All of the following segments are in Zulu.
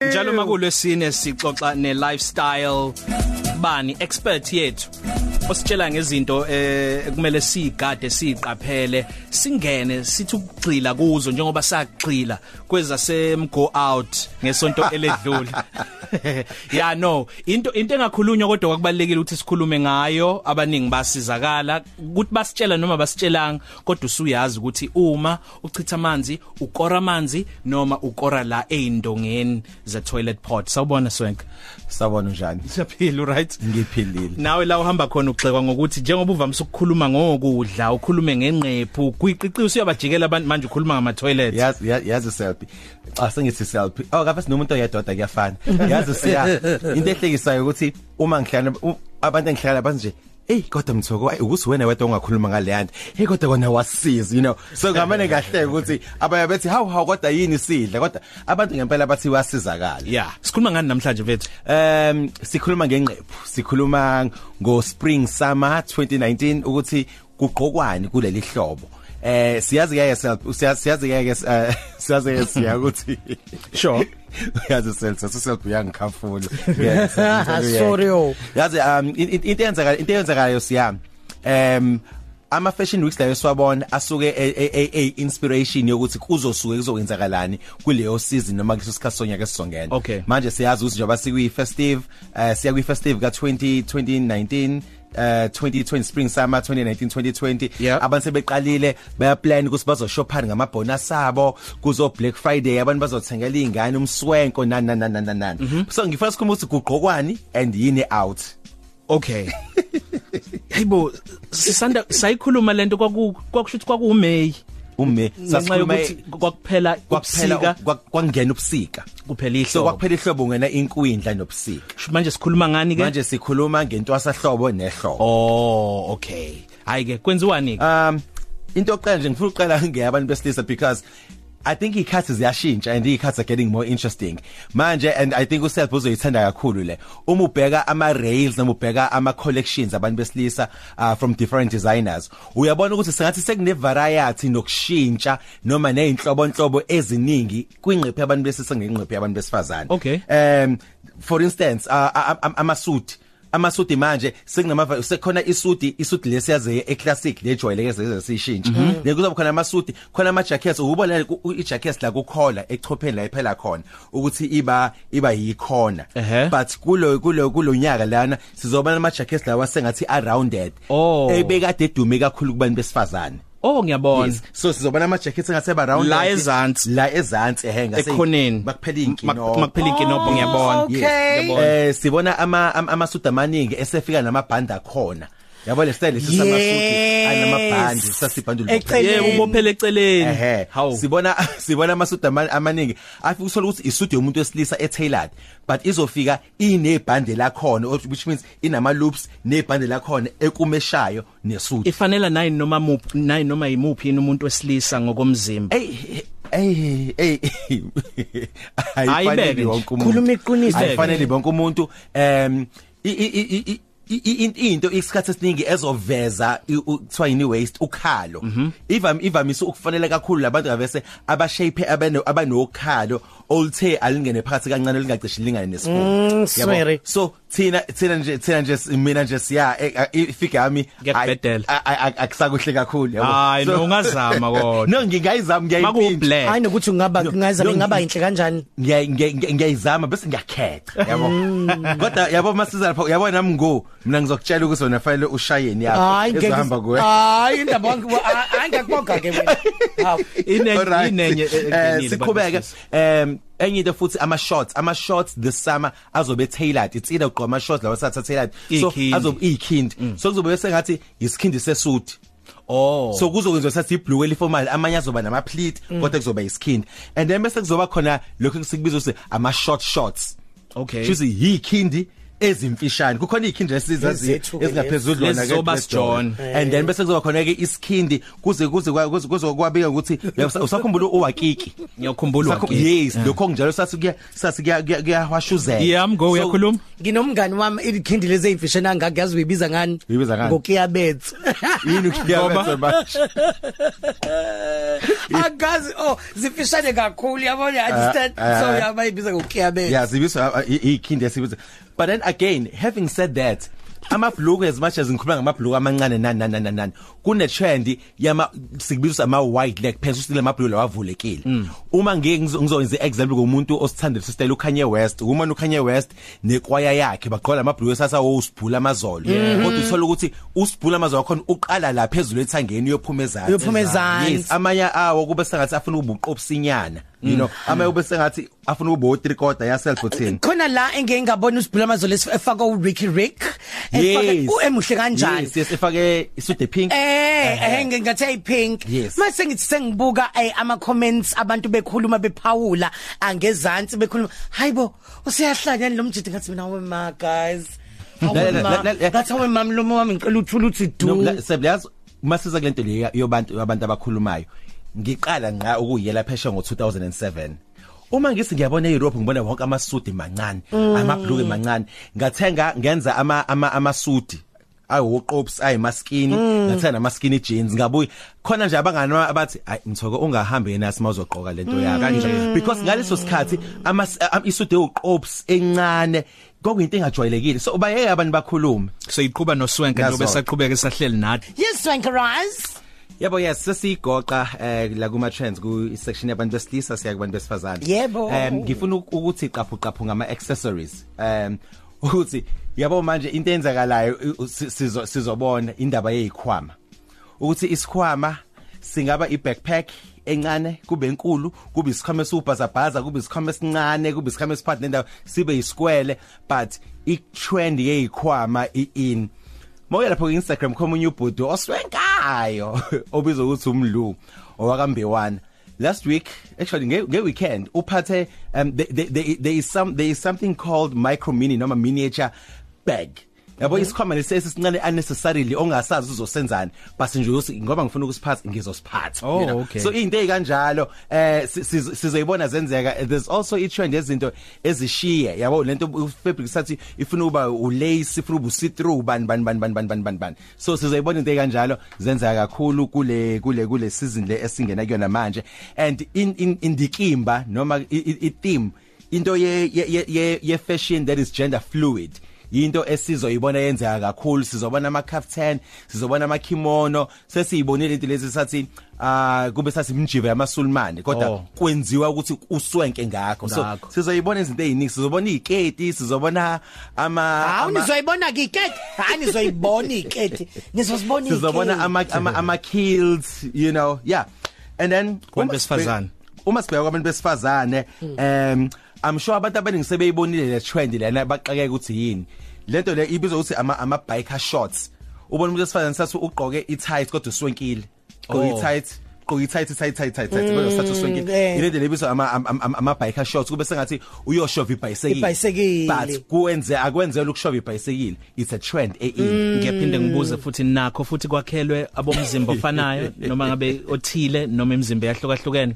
njalo makulwesine sixoxa ne lifestyle bani expert yethu ositshela ngezinto eh kumele sigade siqaphele singene sithi ukugxila kuzo njengoba sagxila kweza semgo out ngesonto eledlule ya no into into engakhulunywa kodwa kwakubalekile ukuthi sikhulume ngayo abaningi basizakala ukuthi basitshela noma basitshelanga kodwa usuyazi ukuthi uma uchitha amanzi ukora amanzi noma ukora la eindongeni ze toilet pot sawubona swenke Sabona njani? siyaphila right Ngiphilile. nawe la uhamba khona ugxekwa ngokuthi njengoba uvamise ukukhuluma ngokudla ukhulume ngenqephu kuyiqiqisi uyabajikela abantu manje ukhuluma ngama toilet Yazi ya- yazi selfie. Cha sengithi selfie. Oh kafa sinomuntu oyedodwa kuyafana. Yazi siya into ehlekisayo ukuthi uma ngihlala u- abantu engihlala abantu nje Hey kodwa mthoko ayi ukuthi wena wedwa ungakhuluma ngale nto. Hey kodwa kona wasiza you know. So ngamane kahle ukuthi abaya bethi how how kodwa yini sidla kodwa abantu ngempela bathi wasizakala. yeah sikhuluma ngani namhlanje mfethu Um sikhuluma ngenqephu sikhuluma ngo spring summer 2019 ukuthi kugqokwani kuleli hlobo eh siyazi ke self siyazi ke eh, siyazi ke siya ukuthi sure uyazi self self uyangikhafula Sorry, oh. yazi um in- in- into yenzakala into yenzakalayo siya um ama fashion weeks layo swabona asuke e- e- e- e- inspiration yokuthi kuzosuke kuzokwenzakalani kuleyo season noma kuleso sikhathi sonyaka esizongena Okay. manje siyazi ukuthi njengoba sikwi festive eh siya kwi festive ka 20 2019 eh 2020 spring summer 2019 2020 Yeah. abantu sebeqalile baya plan ukuthi bazoshophana ngama bonus abo kuzo Black Friday abantu bazothengela izingane umswenko nani nani nani nani, Mhm. nani so ngifuna sikhuluma ukuthi kugqokwani and yini out okay hayibo sisanda sayikhuluma lento kwaku kwakushuthi kwaku May ume ngenxa yokuthi kwakuphela kwakuphela kwakuphela kwak- kwakungena ubusika kuphela so ihlobo kwakuphela ihlobo ngena inkwindla nobusika manje sikhuluma ngani ke manje sikhuluma ngentwasa hlobo nehlobo oh okay hayi ke kwenziwani ke um into oqala nje ngifuna uqala ngeyabantu besilisa because I think ikhathi ziyashintsha and ikhathi are getting more interesting manje and I think uself uzoyithanda kakhulu le uma ubheka ama rails noma ubheka ama collections abantu besilisa uh, from different designers uyabona ukuthi sengathi sekune variety nokushintsha noma nezinhlobo nhlobo eziningi kwingqephe yabantu besilisa ngengqephe yabantu besifazane Okay. um for instance uh, a- a- ama suit amasuti manje sekunama sekukhona isuti isuti lesiyaze eclassic lejwayeleke sesishintshe Mhm. lekuzoba khona amasuti khona ama jackets ubona i jackets la kukhola echopheni la iphela khona ukuthi iba iba yikhona Ehhe. but kulo kulo kulonyaka lana sizoba nama jackets lawa sengathi arounded Oh. ebekade edume kakhulu kubantu besifazane oh ngiyabona Yes. so sizoba nama jackets ngathi eba rounded La ezansi. la ezansi ehe ngase ekhoneni bakuphela inkinobho makuphela inkinobho ngiyabona Oh, okay. Yes, ngiyabona. eh sibona ama ama- amasuda amaningi esefika namabhanda khona yabo le style sisamasuda Yes. anamabhandi sasibhandulu Eceleni. yebo ubophele eceleni ehe hawu sibona sibona amasuda ama- amaningi afika uthola ukuthi isuda yomuntu wesilisa etailored but izofika inebhande lakhona which means inama loops nebhande lakhona ekumeshayo nesuda ifanela nayi noma muphi nayi noma yimuphi yini umuntu wesilisa ngokomzimba hey hey hey Ayibeke ayifanele nje. wonke umuntu Khuluma iqiniso. ayifanele bonke umuntu em i- i- i- i- i- i- i- into isikhathe esiningi ezoveza i- u- kuthiwa yini waste ukhalo ivam ivamise ukufanele kakhulu labantu ngavese abashape abano abanokhalo olthe alingene phakathi kancane lingacishi lingane nesifuba Yabo? sorry. so thina thina nje thina nje mina nje siya e, ifika yami Ngiyakubhedela. akusakuhle kakhulu yabo hayi So- nongazama kodwa no ngingayizama ngiyayiphinda makublack hayi nokuthi ungaba ngingazama no, ingaba ngi- inhle kanjani Ngiya- ngiya- ngiya- ngiyayizama bese ngiyakhetha yabo Mm. kodwa yabo masiza lapho yabo nami ngo mina ngizokutshela ukuthi wena fanele ushayeni hayi yakho ngeke- ezohamba Ah, kuwe hayi indaba yonke- hayi hayi, ngiyakubonga ke wena hawu inenye Alright. inenye e-, Eh, siqhubeke um enye into futhi ama shorts ama shorts this summer azobe tailored it's either ugqoma shorts lawa sathatha tailored so Ikhindi. Mm. azobe ikhindi so kuzobe sengathi isikhindi sesuit oh so kuzokwenziwa sathi iblue eliformal amanye azoba nama pleat Mm. kodwa kuzoba isikhindi and then bese kuzoba khona lokho sikubiza ukuthi ama short shorts okay shuthi yikhindi ezimfishane kukhona izikhindi esizazi Ezethu-ke ezingaphezulu lezi. lona Lezi zoba sijona. and then bese kuzoba khona ke isikhindi kuze kuze kwa- kuze kuze kwabika ukuthi uya- usakhumbula uwakiki Ngiyakhumbula Sakhu- wakiki. yes lokho njalo sasikuya sasikuya kuyahwashuzela Yeah, I'm go uyakhuluma. Nginomngani wami ikhindi lezi ezimfishane angakuyazi uyibiza ngani? Uyibiza ngani? Ngokiyabethu. yini ukuyabetha manje Angazi oh zifishane kakhulu yabona you understand Ah, ah, so ah. yabayibiza ngokiyabethu. yeah uh, sibizwa ikhindi sibizwa but then again having said that amabhluku as much as ngikhuluma ngamabhluku amancane nani nani nani nani kune trend yama sikubiza ama wide leg pants usile amabhluku lawavulekile uma ngike ngizo- ngizokwenza example komuntu osithanda lesi style uKanye West uma uKanye West nekwaya yakhe baqola amabhluku sasa osibhula amazolo kodwa uthola ukuthi usibhula amazolo khona uqala la phezulu ethangeni uyophuma ezantsi Uyophuma ezantsi. Yes, amanye awo kube sengathi afuna ukuba uqopsinyana you know Mm. amanye kube sengathi afuna ukuba u3 quarter ya self routine khona la engeke ngabona usibhula amazolo efaka u Ricky Rick efaka Yes. uemuhle u-M kanjani Yes, yes efake isude pink. Eh Ehhe. eh ngingathe ayipink Yes. mase ngithi sengibuka eh, ama comments abantu bekhuluma bephawula angezantsi bekhuluma hayibo usiyahlanyani lo mjidi ngathi mina we ma guys La- la- la- la- la- ngathi we mami lo wami ngicela uthula uthi No, du la- sebuyazi masiza kule nto leyo yobantu abantu abakhulumayo. Ngiqala nqa ukuyela phesha ngo2007. Uma ngisi ngiyabona eEurope ngibona wonke amasudi mancane, amabhluku mancane. Ngathenga ngenza ama ama amasudi ayiwoqops ayimaskini ngathenga namaskini jeans ngabuye khona nje abangani ba- abathi ay mthoko ungahambe yena simawuzoqoka lento yakho kanje because ngaleso sikhathi ama isude uqops encane kokuyinto engajwayelekile so bayeke abantu bakhulume So iqhuba noSwenka That's njobe all. saqhubeka esahleli nathi. yes wankerise Yebo yes sesigoqa eh la kuma trends ku section yabantu besilisa siya kubantu besifazane. Yebo. Em ngifuna uk- ukuthi qaphu qaphu ngama accessories. Em ukuthi yabo manje into eyenzakalayo i- u- si- sizo- sizobona indaba yezikhwama. Ukuthi isikhwama singaba i backpack encane kube enkulu kube isikhwama esubhazabhaza kube isikhwama esincane kube isikhwama esiphathi nendawo sibe isikwele but i trend yezikhwama i in Mawuya lapho ku Instagram khomunye ubhudu oswenkayo obizwa ukuthi umlu owakambewana last week actually nge, nge weekend uphathe um, there, there, there is some there is something called micro mini noma miniature bag yabo Mhm. isikhwama lesi esincane unnecessarily ongasazi uzosenzani basi nje uyosi- ngoba ngifuna ukusiphatha ngizosiphatha Oh, you know? okay. so izinto ezikanjalo eh si- siz- sizoyibona zenzeka Eh, there's also i trend yezinto ezishiye yabo lento u- fabric sathi ifuna uba u lace ifuna uba see through bani bani bani bani bani bani bani bani so sizoyibona into ezikanjalo zenzeka kakhulu kule kule kule season le esingena kuyona manje and in in indikimba noma i- i i- theme into ye ye- ye ye ye fashion that is gender fluid into esizoyibona yenzeka kakhulu sizobona ama kaftan sizobona ama kimono sesiyibonile into lezi sathi ah kube sasimjiva yamasulmane kodwa Oh. kwenziwa ukuthi uswenke ngakho so Ngakho. sizoyibona izinto eziningi sizobona iziketi sizobona ama ama- awunizoyibona kiketi hayi nizoyibona iketi nizosibona iketi sizobona ama ama ama kills you know yeah and then Kubantu uma besifazane. sibheka- uma sibheka kwabantu besifazane Hmm. um i'm sure abantu abaningi sebeyibonile le trend lena baxakeke ukuthi yini lento le ibizwa ukuthi ama ama biker shorts ubona umuntu esifazane sathi ugqoke i tight kodwa uswenkile ugqoke Oh. i tight ugqoke i tight i tight tight tight kodwa sathi eh. uswenkile ilento lebizwa ama ama- ama ama biker shorts kube sengathi uyoshova ibhayisekile Ibhayisekile. but kuwenze akwenzela ukushova ibhayisekile it's a trend e Hmm. Ngiyaphinde ngibuze futhi nakho futhi kwakhelwe abomzimba ofanayo noma ngabe othile noma imizimba yahlukahlukene.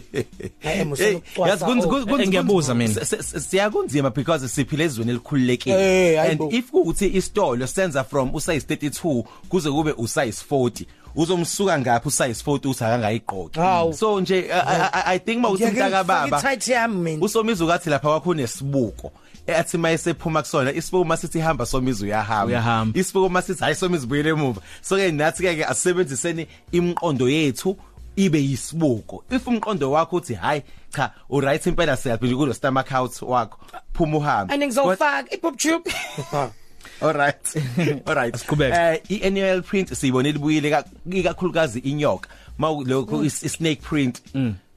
Hhayi, Musa, Hey, ucwasa, yazi kunzi- oh. kunzi- kunzi- Ngiyabuza mina. s- s- s- siyakunzima because siphila ezweni elikhululekile Eh, hayi and bo. if kuthi isitolo senza from usize 32 kuze kube usize 40 uzomsuka ngaphi usize 40 uthi Hawu. akangayiqoqi so nje I- I- I- i think Ngiyake mawuthintaka ngifake baba i-tight yami mina usomizu kathi lapha kwakho nesibuko ethi mayesephuma kusona isibuko masithi hamba somizu uyahamba Uyahamba. isibuko masithi hayi somizu buyele emuva so ke nathi ke asebenziseni imqondo yethu ibe yisibuko if umqondo wakho uthi hayi cha u right impela self nje kulo stomach out wakho phuma uhambe and ngizofaka i-pop tube all right all right Asiqhubeke. eh i-annual print siyibonile ibuyile ka- ikakhulukazi inyoka mawu lokho is- i-snake print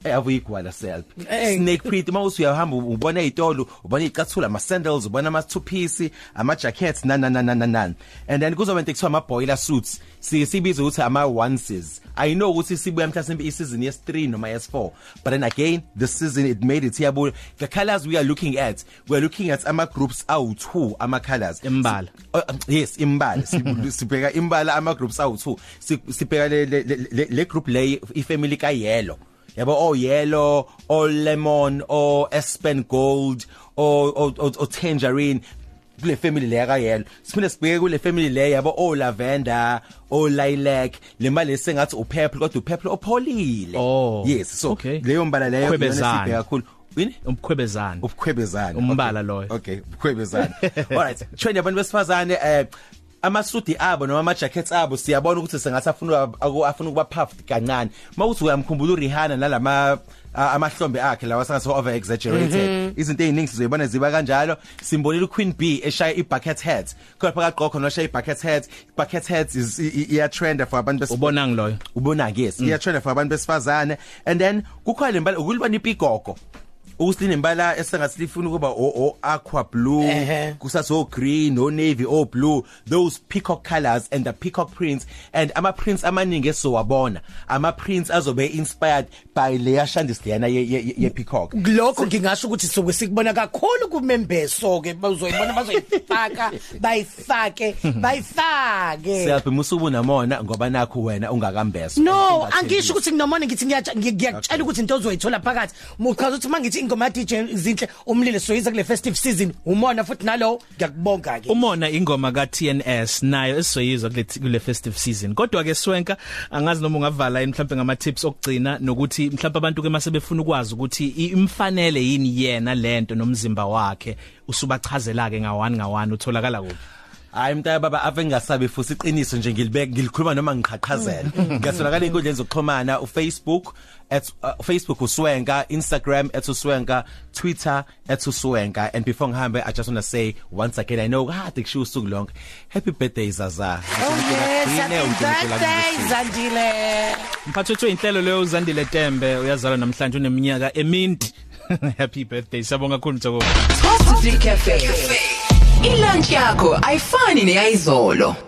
eyavuyigwala self Eh. snake print mawuthi uyahamba ubona izitolo ubona izicathula ama sandals ubona ama two piece ama jackets nan nan nan nan, nan and then kuzoba into ekuthiwa ama boiler suits sisibiza ukuthi ama onces i know ukuthi sibuya mhlasimbe i season yes 3 noma yes 4 but then again the season it made it yabo the colors we are looking at we are looking at ama groups awu2 ama colors Imbala. Oh, um, yes imbala Sibu- sibheka imbala ama groups awu2 Si- sibheka le le- le- le group le i family ka yellow yabo o yellow o lemon o aspen gold o o- o o tangerine kule family leya ka yellow siphinde sibheke kule family leya yabo o lavender o lilac le mali sengathi u purple kodwa u purple opholile Oh, yes so okay. leyo mbala leyo iyona Ukhwebezana. sibheka kakhulu yini umkhwebezana ubukhwebezana Umbala Okay. loyo. okay ubukhwebezana alright trend yabantu besifazane eh amasudi abo noma ama jackets abo siyabona ukuthi sengathi afuna aku- afuna ukuba puffed kancane mawuthi uyamkhumbula uRihanna nalama a- amahlombe akhe lawa sengathi over exaggerated Mhm. izinto eziningi sizoyibona ziba kanjalo simbonile uQueen B eshaya ibucket hat kodwa phakathi qokho noshaya ibucket hat bucket hat is i- i- iya trend for abantu besifazane ubona ngiloyo ubona ke yes iyatrenda for abantu besifazane and then kukhona lembala ukulibana ipigogo ukusine imbala esengathi lifuna ukuba o o aqua blue Ehhe. kusaso green o navy o blue those peacock colors and the peacock prints and ama prints amaningi esowabona ama prints azobe inspired by leya Shandis lena ye, ye, ye peacock lokho ngingasho ukuthi soke sikubona kakhulu kumembeso ke bazoyibona bazoyifaka bayifake bayifake siyaphima usuku namona ngoba nakho wena ungakambeso Eh. No angisho ukuthi nginomona ngithi ngiyatsha- ngi- ngiyakutshela ukuthi into ozoyithola phakathi muchaza ukuthi mangithi ingoma DJ zinhle umlilo soyiza kule festive season umona futhi nalo ngiyakubonga ke umona ingoma ka TNS nayo esizoyizwa kule kule festive season kodwa ke swenka angazi noma ungavala yini mhlawumbe ngama tips okugcina nokuthi mhlawumbe abantu ke mase befuna ukwazi ukuthi i- imfanele yini yena lento nomzimba wakhe usubachazela ke ngawani ngawani utholakala kuphi Hayi mntaya baba ave ngingasabi futhi iqiniso nje ngilibeka ngilikhuluma noma ngiqhaqhazela. Mm-hmm. Ngiyatholakala inkundleni zokuxhumana uFacebook at uh, Facebook uswenka, Instagram at uswenka, Twitter at uswenka and before ngihambe I just want to say once again I know hard kushiya usuku lonke. Happy birthday Zaza. Oh yes, happy birthday Zandile. Mphathethwe inhlelo leyo uzandile Tembe uyazalwa namhlanje uneminyaka eminti happy birthday siyabonga kakhulu Mthoko Coffee Cafe. Ilunch yakho ayifani neyizolo.